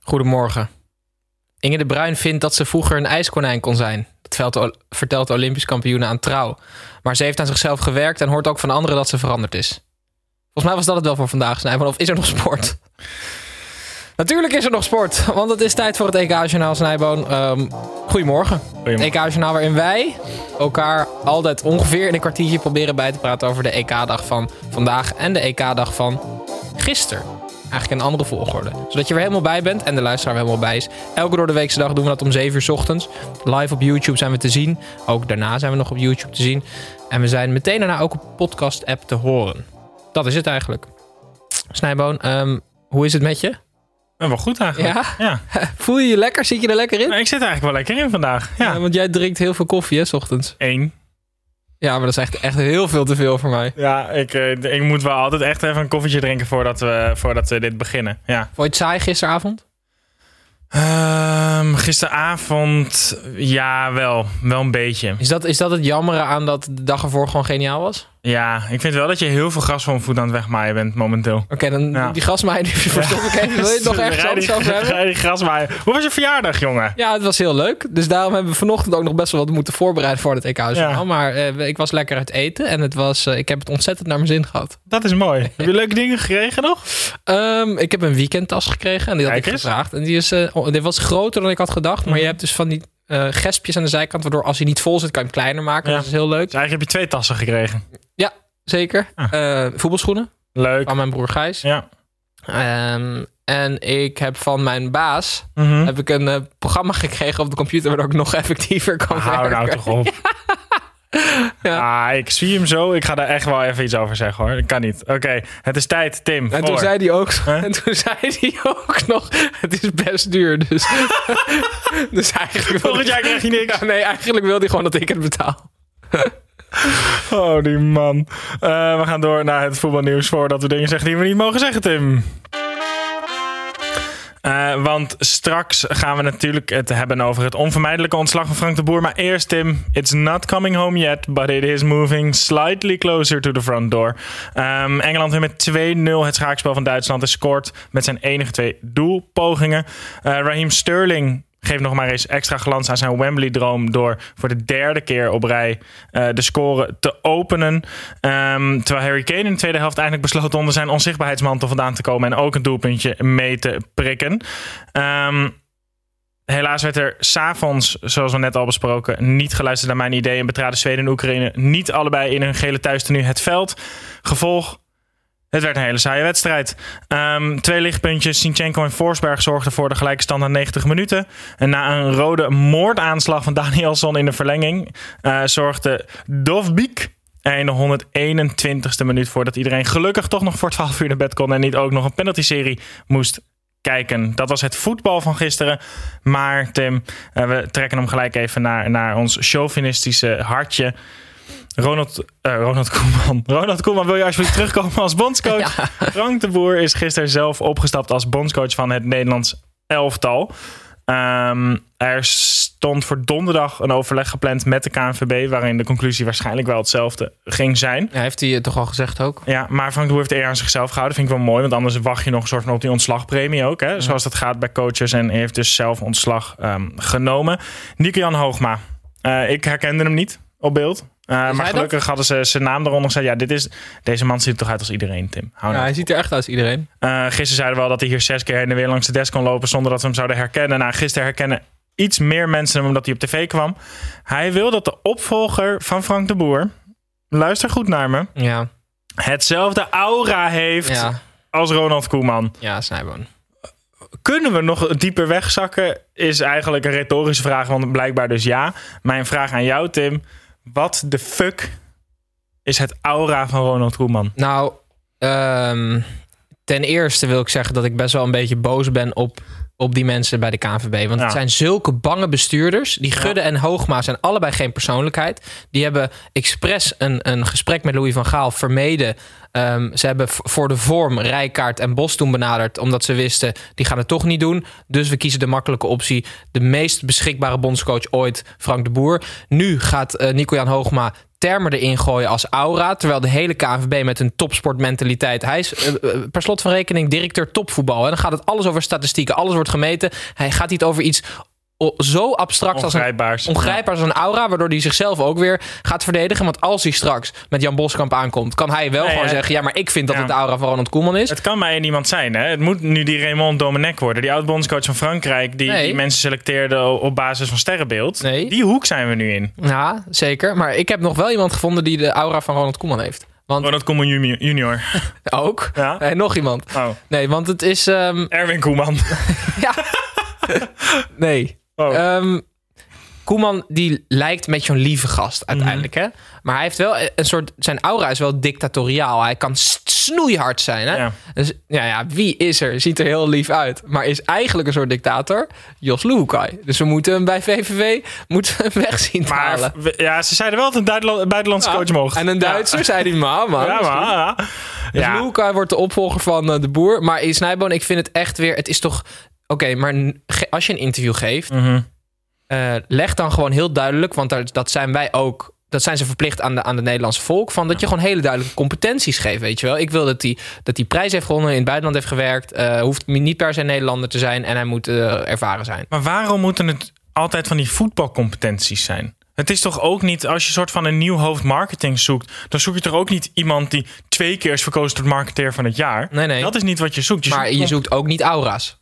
Goedemorgen. Inge de Bruin vindt dat ze vroeger een ijskonijn kon zijn. Dat veld- vertelt de Olympisch kampioene aan Trouw. Maar ze heeft aan zichzelf gewerkt en hoort ook van anderen dat ze veranderd is. Volgens mij was dat het wel voor vandaag, Snijman. Of is er nog sport? Natuurlijk is er nog sport, want het is tijd voor het EK-journaal Snijboon. Ehm, goedemorgen. Het Goedemorgen. EK-journaal waarin wij elkaar altijd ongeveer in een kwartiertje proberen bij te praten over de EK-dag van vandaag en de EK-dag van gisteren. Eigenlijk in een andere volgorde. Zodat je er helemaal bij bent en de luisteraar er helemaal bij is. Elke door de weekse dag doen we dat om 7 uur 's ochtends. Live op YouTube zijn we te zien. Ook daarna zijn we nog op YouTube te zien. En we zijn meteen daarna ook op podcast-app te horen. Dat is het eigenlijk. Snijboon, ehm, hoe is het met je? Ja, wel goed eigenlijk. Ja? Ja. Voel je je lekker? Zit je er lekker in? Nou, ik zit eigenlijk wel lekker in vandaag. Ja. Ja, want jij drinkt heel veel koffie, hè, 's ochtends. Eén. Ja, maar dat is echt, echt heel veel te veel voor mij. Ja, ik, eh, ik moet wel altijd echt even een koffietje drinken voordat we, voordat we dit beginnen. Ja. Vond je het saai gisteravond? Ehm, gisteravond, ja, wel. Wel een beetje. Is dat, is dat het jammeren aan dat de dag ervoor gewoon geniaal was? Ja, ik vind wel dat je heel veel gras van voet aan het wegmaaien bent momenteel. Oké, dan Ja. die gasmaaien die verstop ik even. Wil je het nog ergens Rij anders die- over hebben? rij die grasmaaier. Hoe was je verjaardag, jongen? Ja, het was heel leuk. Dus daarom hebben we vanochtend ook nog best wel wat moeten voorbereiden voor het ek Ja. Maar eh, ik was lekker uit eten en het was, eh, ik heb het ontzettend naar mijn zin gehad. Dat is mooi. Heb je leuke dingen gekregen nog? Ehm, ik heb een weekendtas gekregen en die had Kijk ik eens. Mhm. gevraagd. En die is, eh, oh, dit was groter dan ik had gedacht. Maar je hebt dus van die eh, gespjes aan de zijkant, waardoor als hij niet vol zit, kan je hem kleiner maken. Ja. Dat is heel leuk. Dus eigenlijk heb je twee tassen gekregen. Zeker. Ah. Eh, voetbalschoenen Leuk. van mijn broer Gijs. Ja. Ehm, en ik heb van mijn baas Mhm. heb ik een eh, programma gekregen op de computer waardoor ik nog effectiever kan Hou werken. nou toch op. Ah, ik zie hem zo. Ik ga daar echt wel even iets over zeggen hoor. Dat kan niet. Oké, het is tijd, Tim. En toen voor- zei hij ook, Huh? en toen zei hij ook nog, het is best duur, dus, dus eigenlijk wilde Volgend jaar krijg je niks. Ja, nee, eigenlijk wilde hij gewoon dat ik het betaal. Oh, die man. Eh, we gaan door naar het voetbalnieuws voordat we dingen zeggen die we niet mogen zeggen, Tim. Eh, want straks gaan we natuurlijk het hebben over het onvermijdelijke ontslag van Frank de Boer. Maar eerst, Tim. It's not coming home yet, but it is moving slightly closer to the front door. Ehm, Engeland weer met 2-0 het schaakspel van Duitsland en scoort met zijn enige twee doelpogingen. Eh, Raheem Sterling geeft nog maar eens extra glans aan zijn Wembley-droom door voor de derde keer op rij eh, de score te openen. Ehm, terwijl Harry Kane in de tweede helft eindelijk besloot onder zijn onzichtbaarheidsmantel vandaan te komen en ook een doelpuntje mee te prikken. Ehm, helaas werd er s'avonds, zoals we net al besproken, niet geluisterd naar mijn idee en betraden Zweden en Oekraïne niet allebei in hun gele thuistenu het veld. Gevolg, het werd een hele saaie wedstrijd. Ehm, twee lichtpuntjes. Sinchenko en Forsberg zorgden voor de gelijke stand na 90 minuten. En na een rode moordaanslag van Danielson in de verlenging... eh, zorgde Dovbik er in de 121ste minuut voor... dat iedereen gelukkig toch nog voor 12 uur naar bed kon... en niet ook nog een penalty-serie moest kijken. Dat was het voetbal van gisteren. Maar Tim, eh, we trekken hem gelijk even naar, naar ons chauvinistische hartje... Ronald, eh, Ronald Koeman. Ronald Koeman, wil je alsjeblieft terugkomen als bondscoach? Frank de Boer is gisteren zelf opgestapt als bondscoach van het Nederlands elftal. Ehm, er stond voor donderdag een overleg gepland met de KNVB... waarin de conclusie waarschijnlijk wel hetzelfde ging zijn. Ja, heeft hij het toch al gezegd ook? Ja, maar Frank de Boer heeft eer aan zichzelf gehouden. Vind ik wel mooi, want anders wacht je nog een soort van op die ontslagpremie ook. Hè? Zoals dat gaat bij coaches en heeft dus zelf ontslag ehm, genomen. Nico-Jan Hoogma. Eh, ik herkende hem niet. op beeld. Eh, maar dat? gelukkig hadden ze zijn naam eronder gezet. Ja, dit is, deze man ziet er toch uit als iedereen, Tim. Hou Ja, nou. hij ziet er echt uit als iedereen. Eh, gisteren zeiden we al dat hij hier zes keer heen en weer langs de desk kon lopen zonder dat we hem zouden herkennen. Nou, gisteren herkennen iets meer mensen hem omdat hij op tv kwam. Hij wil dat de opvolger van Frank de Boer, luister goed naar me, Ja, hetzelfde aura heeft ja, als Ronald Koeman. ja Snijboon. Kunnen we nog dieper wegzakken? Is eigenlijk een retorische vraag, want blijkbaar dus ja. Mijn vraag aan jou, Tim. Wat de fuck is het aura van Ronald Koeman? Nou, ehm, ten eerste wil ik zeggen dat ik best wel een beetje boos ben op, op die mensen bij de KNVB. Want Ja. het zijn zulke bange bestuurders. Die Gudde en Hoogma zijn allebei geen persoonlijkheid. Die hebben expres een, een gesprek met Louis van Gaal vermeden. Ehm, ze hebben v- voor de vorm Rijkaard en Bos toen benaderd. Omdat ze wisten, die gaan het toch niet doen. Dus we kiezen de makkelijke optie. De meest beschikbare bondscoach ooit, Frank de Boer. Nu gaat eh, Nico-Jan Hoogma termen erin gooien als aura. Terwijl de hele KNVB met een topsportmentaliteit... Hij is eh, eh, per slot van rekening directeur topvoetbal. En dan gaat het alles over statistieken. Alles wordt gemeten. Hij gaat niet over iets o- zo abstract als een Ongrijpbaars. ongrijpbaar als een aura, waardoor hij zichzelf ook weer gaat verdedigen. Want als hij straks met Jan Boskamp aankomt, kan hij wel Nee, gewoon hè? zeggen: Ja, maar ik vind dat Ja. het de aura van Ronald Koeman is. Het kan maar één iemand zijn. Hè? Het moet nu die Raymond Domenech worden. Die oud-bondscoach van Frankrijk. Die, Nee. die mensen selecteerde o- op basis van sterrenbeeld. Nee. Die hoek zijn we nu in. Ja, zeker. Maar ik heb nog wel iemand gevonden die de aura van Ronald Koeman heeft. Want Ronald Koeman juni- junior. ook. Ja? Nee, nog iemand. Oh, Nee, want het is. ehm, Erwin Koeman. ja. nee. Oh. Ehm, Koeman die lijkt met zo'n lieve gast Mhm. uiteindelijk. hè? Maar hij heeft wel een soort. Zijn aura is wel dictatoriaal. Hij kan s- snoeihard zijn. Hè? Ja. Dus, ja, ja, wie is er? Ziet er heel lief uit. Maar is eigenlijk een soort dictator. Jos Luukai. Dus we moeten hem bij VVV moeten we hem weg zien te Maar halen. we- ja, ze zeiden wel dat een Duitsla- buitenlandse Ja. coach mocht. En een Duitser zei die maar, man. Ja, ja, maar, ja. Dus Ja. Luukai wordt de opvolger van eh, de boer. Maar in Snijboon, ik vind het echt weer... Het is toch... Oké, maar n- ge- als je een interview geeft... Mhm. eh, leg dan gewoon heel duidelijk... Want daar, dat zijn wij ook... Dat zijn ze verplicht aan de, aan de Nederlandse volk. Van dat je gewoon hele duidelijke competenties geeft, weet je wel. Ik wil dat hij dat die prijs heeft gewonnen, in het buitenland heeft gewerkt. eh, hoeft niet per se Nederlander te zijn en hij moet eh, ervaren zijn. Maar waarom moeten het altijd van die voetbalcompetenties zijn? Het is toch ook niet, als je soort van een nieuw hoofd marketing zoekt, dan zoek je toch ook niet iemand die twee keer is verkozen tot marketeer van het jaar. Nee, nee. Dat is niet wat je zoekt. Je Maar zoekt je zoekt ook niet aura's.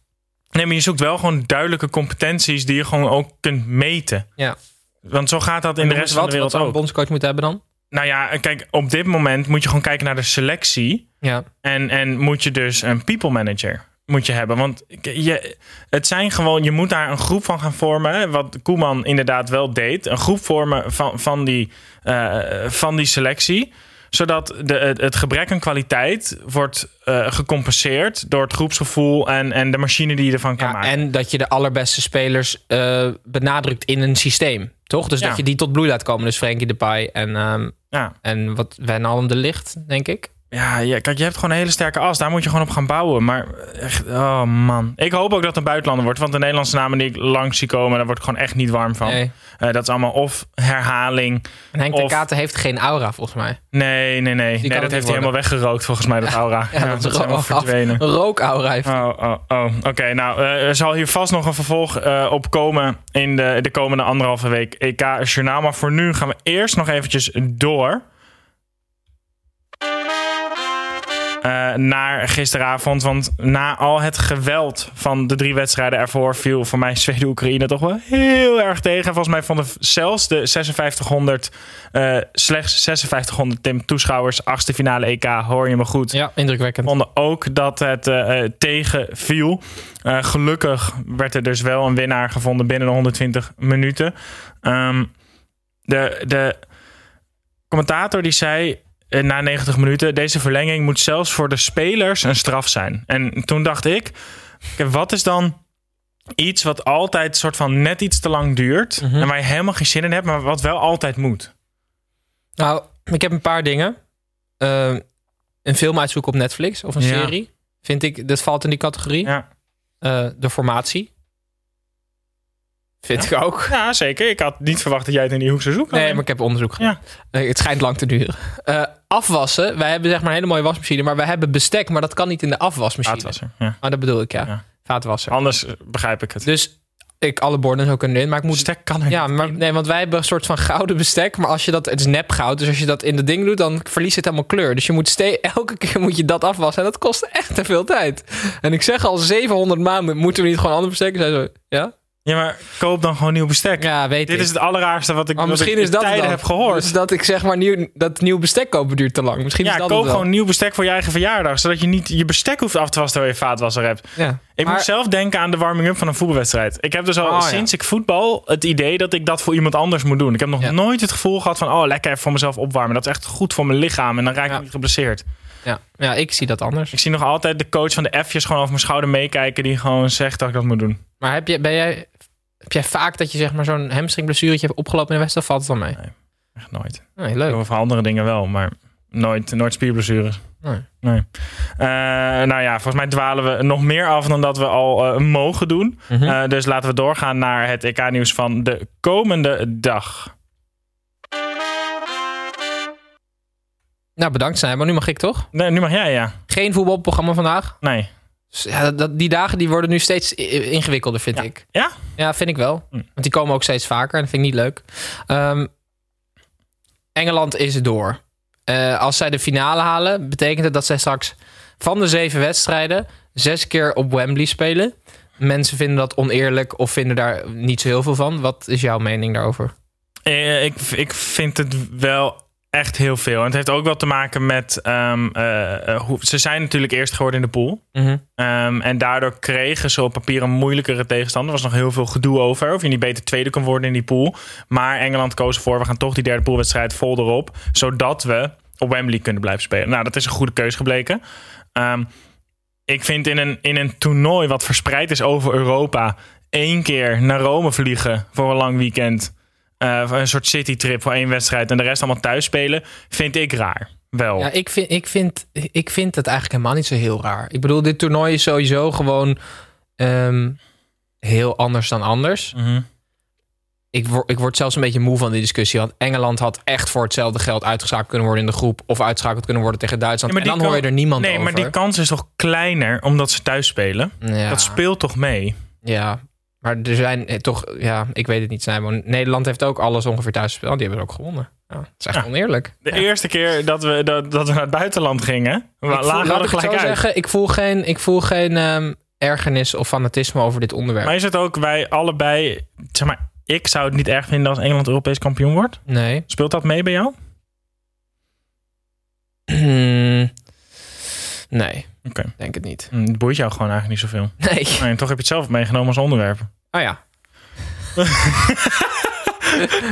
Nee, maar je zoekt wel gewoon duidelijke competenties die je gewoon ook kunt meten. Ja. Want zo gaat dat in de rest van wat, de wereld wat zou ook. een bondscoach moeten hebben dan? Nou ja, kijk, op dit moment moet je gewoon kijken naar de selectie. Ja. En, en moet je dus een people manager moet je hebben. Want k- je, het zijn gewoon, je moet daar een groep van gaan vormen. hè, Wat Koeman inderdaad wel deed. Een groep vormen van, van, die, eh, van die selectie. Zodat de, het, het gebrek aan kwaliteit wordt eh, gecompenseerd door het groepsgevoel en, en de machine die je ervan kan Ja, maken. en dat je de allerbeste spelers eh, benadrukt in een systeem, toch? Dus Ja. dat je die tot bloei laat komen. Dus Frenkie de Pai en, ehm, ja. en wat Wijnaldum de Licht, denk ik. Ja, ja, kijk, je hebt gewoon een hele sterke as. Daar moet je gewoon op gaan bouwen. Maar echt, oh man. Ik hoop ook dat het een buitenlander wordt. Want de Nederlandse namen die ik langs zie komen, daar word ik gewoon echt niet warm van. Nee. Eh, dat is allemaal of herhaling. En Henk Of- de Katen heeft geen aura, volgens mij. Nee, nee, nee. nee het dat heeft niet hij helemaal weggerookt volgens mij, dat aura. Ja, dat, is helemaal verdwenen. rookaura heeft. Oh, oh, oh. Oké, nou, eh, er zal hier vast nog een vervolg eh, op komen in de, de komende anderhalve week EK Journaal. Maar voor nu gaan we eerst nog eventjes door eh, naar gisteravond. Want na al het geweld van de drie wedstrijden ervoor viel voor mij Zweden-Oekraïne toch wel heel erg tegen. En Volgens mij vonden zelfs de 5600, eh, slechts 5600 Tim toeschouwers, achtste finale EK, hoor je me goed Ja, indrukwekkend. vonden ook dat het eh, eh, tegenviel. Eh, gelukkig werd er dus wel een winnaar gevonden binnen de 120 minuten. Ehm, de, de commentator die zei eh, na 90 minuten... deze verlenging moet zelfs voor de spelers een straf zijn. En toen dacht ik, oké, wat is dan iets wat altijd soort van net iets te lang duurt... Mhm. en waar je helemaal geen zin in hebt, maar wat wel altijd moet? Nou, ik heb een paar dingen. Ehm, een film uitzoeken op Netflix of een Ja. serie. Vind ik, dat valt in die categorie. Ja. Eh, de formatie. Vind ik ook. Ja, zeker. Ik had niet verwacht dat jij het in die hoek zou zoeken. Nee, maar ik heb onderzoek Ja. gedaan. Eh, het schijnt lang te duren. Eh, afwassen. Wij hebben zeg maar een hele mooie wasmachine, maar wij hebben bestek, maar dat kan niet in de afwasmachine. Ah, het was er. Ja. Oh, dat bedoel ik, ja. Ja. Vaatwasser. Anders eh, begrijp ik het. Dus ik alle borden zou kunnen in, maar ik moet... Stek kan er Ja, niet maar, in. nee, want wij hebben een soort van gouden bestek. Maar als je dat, het is nep goud, dus als je dat in dat ding doet, dan verliest het helemaal kleur. Dus je moet ste- elke keer moet je dat afwassen. En dat kost echt te veel tijd. En ik zeg al 700 maanden, moeten we niet gewoon ander bestek? Zij zo, ja? Ja, maar koop dan gewoon nieuw bestek. Ja, weet Dit ik. is het allerraarste wat ik, maar wat misschien ik is dat het in tijden dan. heb gehoord. Dus dat ik zeg maar nieuw, dat nieuw bestek kopen duurt te lang. Misschien ja, is dat koop het wel. gewoon nieuw bestek voor je eigen verjaardag. Zodat je niet je bestek hoeft af te wassen terwijl je vaatwasser hebt. Ja. Ik Maar- moet zelf denken aan de warming-up van een voetbalwedstrijd. Ik heb dus al Oh, ja. sinds ik voetbal het idee dat ik dat voor iemand anders moet doen. Ik heb nog Ja. nooit het gevoel gehad van... oh, lekker even voor mezelf opwarmen. Dat is echt goed voor mijn lichaam. En dan raak ik Ja. niet geblesseerd. Ja. ja, ik zie dat anders. Ik zie nog altijd de coach van de F'jes gewoon over mijn schouder meekijken... die gewoon zegt dat ik dat moet doen. Maar heb, je, ben jij, heb jij vaak dat je zeg maar zo'n hamstringblessuretje hebt opgelopen in de wedstrijd? Valt het dan mee? Echt nooit. Nee, leuk. Over andere dingen wel, maar nooit, nooit spierblessures. Nee. Nee. Eh, nou ja, volgens mij dwalen we nog meer af dan dat we al eh, mogen doen. Mhm. Eh, dus laten we doorgaan naar het EK-nieuws van de komende dag. Nou, bedankt zijn, maar nu mag ik toch? Nee, nu mag jij, ja. Geen voetbalprogramma vandaag. Nee. Dus ja, dat- dat, die dagen die worden nu steeds i- i- ingewikkelder, vind ik. Ja? Ja, vind ik wel. Hm. Want die komen ook steeds vaker en dat vind ik niet leuk. Ehm, Engeland is door. Eh, als zij de finale halen, betekent het dat zij straks van de zeven wedstrijden zes keer op Wembley spelen. Mensen vinden dat oneerlijk of vinden daar niet zo heel veel van. Wat is jouw mening daarover? Eh, ik, ik vind het wel echt heel veel. En het heeft ook wel te maken met... ehm, eh, eh, hoe, ze zijn natuurlijk eerst geworden in de pool. Ehm, en daardoor kregen ze op papier een moeilijkere tegenstander. Er was nog heel veel gedoe over. Of je niet beter tweede kon worden in die pool. Maar Engeland koos ervoor. We gaan toch die derde poolwedstrijd vol erop. Zodat we op Wembley kunnen blijven spelen. Nou, dat is een goede keus gebleken. Ehm, ik vind in een, in een toernooi wat verspreid is over Europa. één keer naar Rome vliegen voor een lang weekend. eh, voor een soort citytrip voor één wedstrijd. En de rest allemaal thuis spelen. Vind ik raar. Wel. Ja, ik vind, ik, vind, ik vind het eigenlijk helemaal niet zo heel raar. Ik bedoel, dit toernooi is sowieso gewoon ehm, heel anders dan anders. Mhm. Ik, wor- ik word zelfs een beetje moe van die discussie. Want Engeland had echt voor hetzelfde geld uitgeschakeld kunnen worden in de groep. Of uitgeschakeld kunnen worden tegen Duitsland. Ja, maar en dan die hoor je kan- er niemand nee, over. maar die kans is toch kleiner omdat ze thuis spelen? ja, Dat speelt toch mee? Ja, maar er zijn eh, toch... Ja, ik weet het niet, Simon. Nederland heeft ook alles ongeveer thuis gespeeld. Die hebben er ook gewonnen. Ja, het is echt oneerlijk. De Ja. eerste keer dat we, dat, dat we naar het buitenland gingen, we Ik voel- lagen laat we er ik het gelijk zo uit. zeggen, ik voel geen, ik voel geen ehm, ergernis of fanatisme over dit onderwerp. Maar is het ook, wij allebei, zeg maar, ik zou het niet erg vinden als Engeland Europees kampioen wordt. Nee. Speelt dat mee bij jou? Hmm. nee. Oké. Denk het niet. Hm, Het boeit jou gewoon eigenlijk niet zoveel. Nee. Nee, en toch heb je het zelf meegenomen als onderwerp. Oh ja.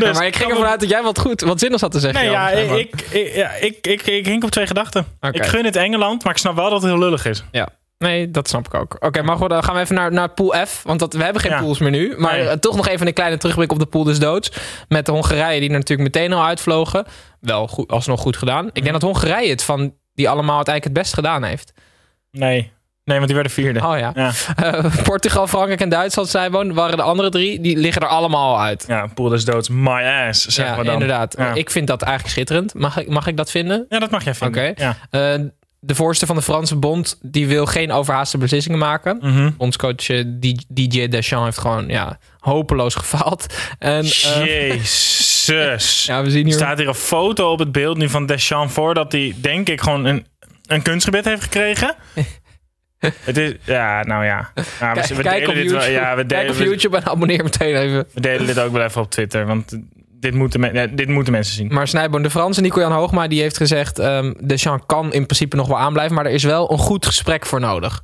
Ja, maar ik ging ervan uit dat jij wat goed, wat zinnigs had te zeggen. Dus Nee, ja, Jan, zeg ik, maar. ik, ik- ja, ik, ik, ik hink op twee gedachten. Oké. Ik gun het Engeland, maar ik snap wel dat het heel lullig is. Ja. Nee, dat snap ik ook. Oké, maar goed, dan gaan we even naar, naar pool F. Want dat, we hebben geen Ja. pools meer nu. Maar Nee. eh, toch nog even een kleine terugblik op de pool des doods. Met de Hongarije die er natuurlijk meteen al uitvlogen. Wel goed, alsnog goed gedaan. Ik denk Mhm. dat Hongarije het van die allemaal het eigenlijk het best gedaan heeft. Nee, nee want die werden vierde. Oh ja. Ja. Eh, Portugal, Frankrijk en Duitsland zijn woon, waren de andere drie. Die liggen er allemaal uit. Ja, pool is dood. My ass, zeggen Ja, we dan. inderdaad. Ja. Ik vind dat eigenlijk schitterend. Mag ik, mag ik dat vinden? Ja, dat mag jij vinden. Oké. Ja. Eh, de voorste van de Franse bond die wil geen overhaaste beslissingen maken. Mhm. Bondscoach eh, D- DJ Deschamps heeft gewoon ja, hopeloos gefaald. En, eh, Jezus. ja, we zien Er hier... staat hier een foto op het beeld nu van Deschamps voor dat hij, denk ik, gewoon een, een kunstgebed heeft gekregen. het is, ja, nou ja. Ja, we, Kijk- we kijk, op delen dit YouTube, wel, ja, we kijk delen, op we, YouTube en abonneer meteen even. we delen dit ook wel even op Twitter, want dit moeten, men- ja, dit moeten mensen zien. Maar Snijboon de Frans en Nico-Jan Hoogma die heeft gezegd... ehm Deschamps kan in principe nog wel aanblijven... maar er is wel een goed gesprek voor nodig.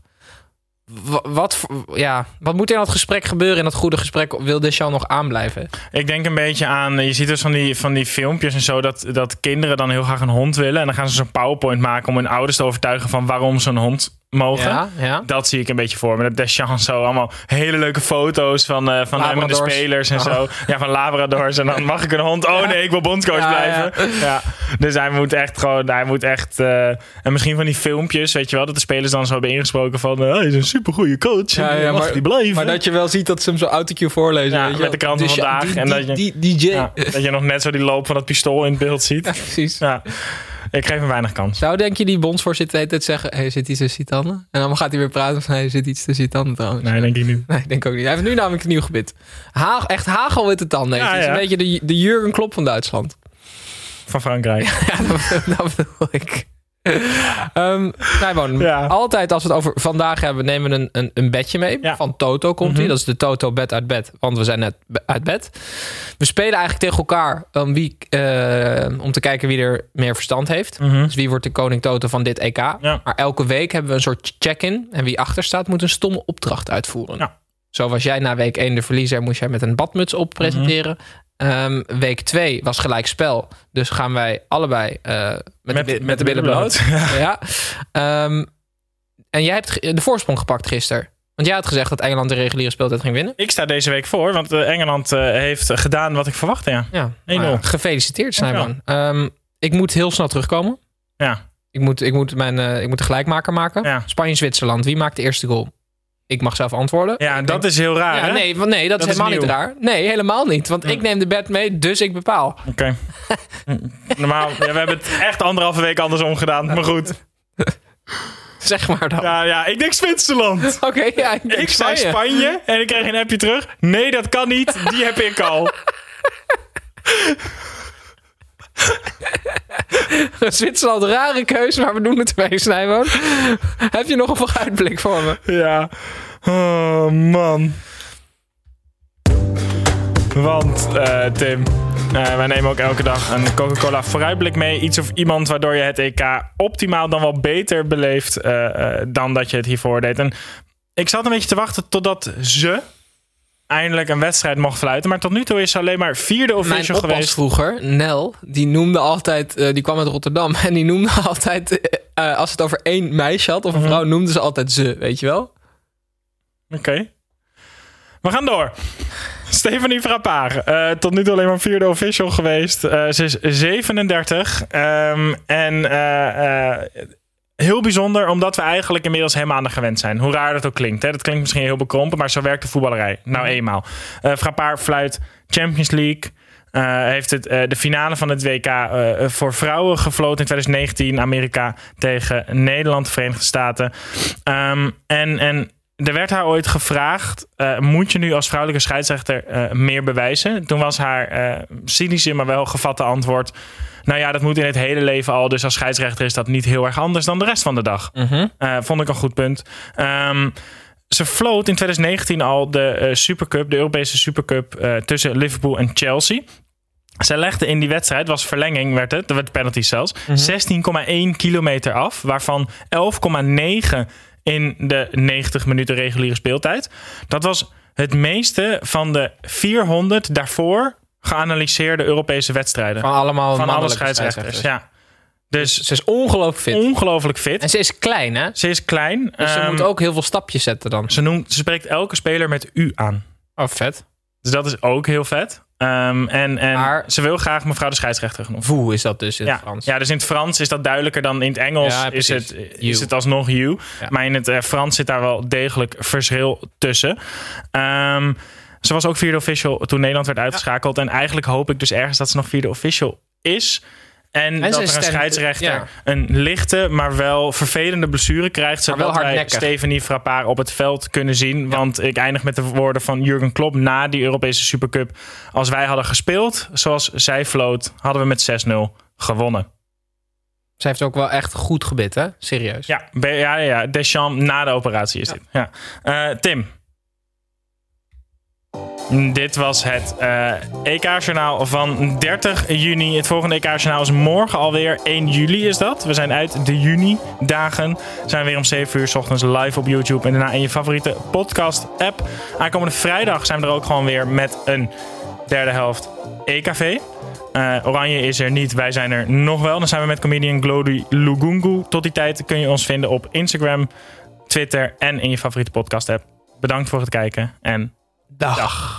Wa- wat, voor- ja, wat moet er in dat gesprek gebeuren? In dat goede gesprek wil Deschamps nog aanblijven? Ik denk een beetje aan, je ziet dus van die, van die filmpjes en zo, dat, dat kinderen dan heel graag een hond willen. En dan gaan ze zo'n PowerPoint maken om hun ouders te overtuigen van waarom ze een hond mogen. Ja, ja. Dat zie ik een beetje voor me. Dat Deschamps zo allemaal hele leuke foto's van, eh, van hem en de Labradors. Oh. spelers en zo. Ja, van Labradors. En dan mag ik een hond. Oh nee, ik wil bondscoach Ja, blijven. Ja. Dus hij moet echt gewoon, hij moet echt... eh, en misschien van die filmpjes, weet je wel, dat de spelers dan zo hebben ingesproken van... eh, hij is een supergoeie coach. Ja, Ja, ja, mag maar- die blijven. Maar dat je wel ziet dat ze hem zo autocue voorlezen. Ja, weet je met wel. de krant van Deschamps- vandaag die- en die- dat die- je- DJ. Ja, dat je nog net zo die loop van dat pistool in het beeld ziet. Precies. Ja. Ik geef hem weinig kans. Zou denk je die bondsvoorzitter de hele tijd zeggen... Hey, zit iets tussen tanden? En dan gaat hij weer praten van... Hey, zit iets tussen je tanden trouwens? Nee, denk ik niet. Nee, ik denk ook niet. Hij heeft nu namelijk een nieuw gebit. Ha echt hagelwitte tanden. heeft Ja, hij. Het is ja. een beetje de, de Jurgen Klopp van Duitsland. Van Frankrijk. Ja, dat, dat bedoel ik. Ehm Nijboon, Ja. altijd als we het over vandaag hebben, nemen we een, een, een bedje mee. Ja. Mhm. Van Toto komt hij. Dat is de Toto bed uit bed, want we zijn net be- uit bed. We spelen eigenlijk tegen elkaar om, wie, eh, om te kijken wie er meer verstand heeft. Mhm. Dus wie wordt de koning Toto van dit EK. Maar elke week hebben we een soort check-in. En wie achter staat moet een stomme opdracht uitvoeren. Ja. Zo was jij na week 1 de verliezer, moest jij met een badmuts op presenteren. Ehm, week 2 was gelijk spel. Dus gaan wij allebei eh, met, de, bi- met de billen bloot. Ja. Ehm, en jij hebt ge- de voorsprong gepakt gisteren. Want jij had gezegd dat Engeland de reguliere speeltijd ging winnen. Ik sta deze week voor, want eh, Engeland eh, heeft gedaan wat ik verwachtte, ja. Ja. 1-0. Maar gefeliciteerd, Snijman. Ehm, ik moet heel snel terugkomen. Ja. Ik moet, ik moet, mijn, eh, ik moet de gelijkmaker maken. Ja. Spanje-Zwitserland. Wie maakt de eerste goal? Ik mag zelf antwoorden. Ja, Ik dat is heel raar, Ja, hè? nee, want nee, dat, Dat is is helemaal niet nieuw. raar. Nee, helemaal niet. Want ik neem de bed mee, dus ik bepaal. Oké. Normaal, ja, we hebben het echt anderhalve week andersom gedaan, maar goed. Zeg maar dan. Ja, ja, ik denk Zwitserland. Oké, ja, ik, denk Ik zei Spanje. Spanje en ik kreeg een appje terug. Nee, dat kan niet. Die heb ik al. Zwitserland, rare keuze, maar we doen het ermee, Snijboon. Heb je nog een vooruitblik voor me? Ja. Oh, man. Want, eh, Tim, eh, wij nemen ook elke dag een Coca-Cola vooruitblik mee. Iets of iemand waardoor je het EK optimaal dan wel beter beleeft eh, eh, dan dat je het hiervoor deed. En ik zat een beetje te wachten totdat ze eindelijk een wedstrijd mocht fluiten. Maar tot nu toe is ze alleen maar vierde Mijn official oppas geweest. vroeger, Nel, die noemde altijd... eh, die kwam uit Rotterdam en die noemde altijd... eh, eh, als het over één meisje had of Mhm. een vrouw, noemde ze altijd ze, weet je wel? Oké. We gaan door. Stephanie Frappard. eh, tot nu toe alleen maar vierde official geweest. Eh, ze is 37. Ehm, en eh, eh, heel bijzonder, omdat we eigenlijk inmiddels helemaal aan haar gewend zijn. Hoe raar dat ook klinkt. Hè? Dat klinkt misschien heel bekrompen, maar zo werkt de voetballerij. Nou eenmaal. Eh Frappard fluit Champions League. Eh, heeft het, eh, de finale van het WK eh, voor vrouwen gefloten in 2019. Amerika tegen Nederland, de Verenigde Staten. Ehm, en, en er werd haar ooit gevraagd: eh, moet je nu als vrouwelijke scheidsrechter eh, meer bewijzen? Toen was haar eh cynische, maar wel gevatte antwoord: Nou ja, dat moet in het hele leven al. Dus als scheidsrechter is dat niet heel erg anders dan de rest van de dag. Eh, vond ik een goed punt. Ehm, ze floot in 2019 al de eh, Supercup, de Europese Supercup eh, tussen Liverpool en Chelsea. Zij legde in die wedstrijd, was verlenging, werd het, er werd penalty zelfs, Mhm. 16,1 kilometer af, waarvan 11,9 in de 90 minuten reguliere speeltijd. Dat was het meeste van de 400 daarvoor geanalyseerde Europese wedstrijden. Van allemaal Van alle mannelijke scheidsrechters, ja. Dus Ze is ongelooflijk fit. ongelooflijk fit. en ze is klein, hè? Ze is klein. Dus ze Ehm, moet ook heel veel stapjes zetten dan. ze, noemt, ze spreekt elke speler met u aan. Oh, vet. Dus dat is ook heel vet. Ehm, en en Maar- ze wil graag mevrouw de scheidsrechter genoemd. Voe is dat dus in Ja. het Frans. ja, dus in het Frans is dat duidelijker dan in het Engels. Ja, is, precies. het, You. is het alsnog you. Ja. Maar in het eh, Frans zit daar wel degelijk verschil tussen. Ehm, ze was ook vierde official toen Nederland werd uitgeschakeld. En eigenlijk hoop ik dus ergens dat ze nog vierde official is. En, ze dat er is een stem- scheidsrechter ja. een lichte, maar wel vervelende blessure krijgt. Maar wel Zodat wij hardnekkig. Stephanie Frappard op het veld kunnen zien. Want ik eindig met de woorden van Jurgen Klopp na die Europese Supercup. Als wij hadden gespeeld zoals zij floot, hadden we met 6-0 gewonnen. Ze heeft ook wel echt goed gebit, hè? Serieus. Ja, be- ja, ja, ja. Deschamps na de operatie is dit. Ja. Eh, Tim. Mm, Dit was het eh, EK-journaal van 30 juni. Het volgende EK-journaal is morgen alweer. 1 juli is dat. We zijn uit de juni-dagen. Zijn weer om 7 uur s ochtends live op YouTube. En daarna in je favoriete podcast-app. Aankomende vrijdag zijn we er ook gewoon weer met een derde helft E EKV. Eh, Oranje is er niet, wij zijn er nog wel. Dan zijn we met comedian Glody Lugungu. Tot die tijd kun je ons vinden op Instagram, Twitter en in je favoriete podcast app. Bedankt voor het kijken en Dag. dag.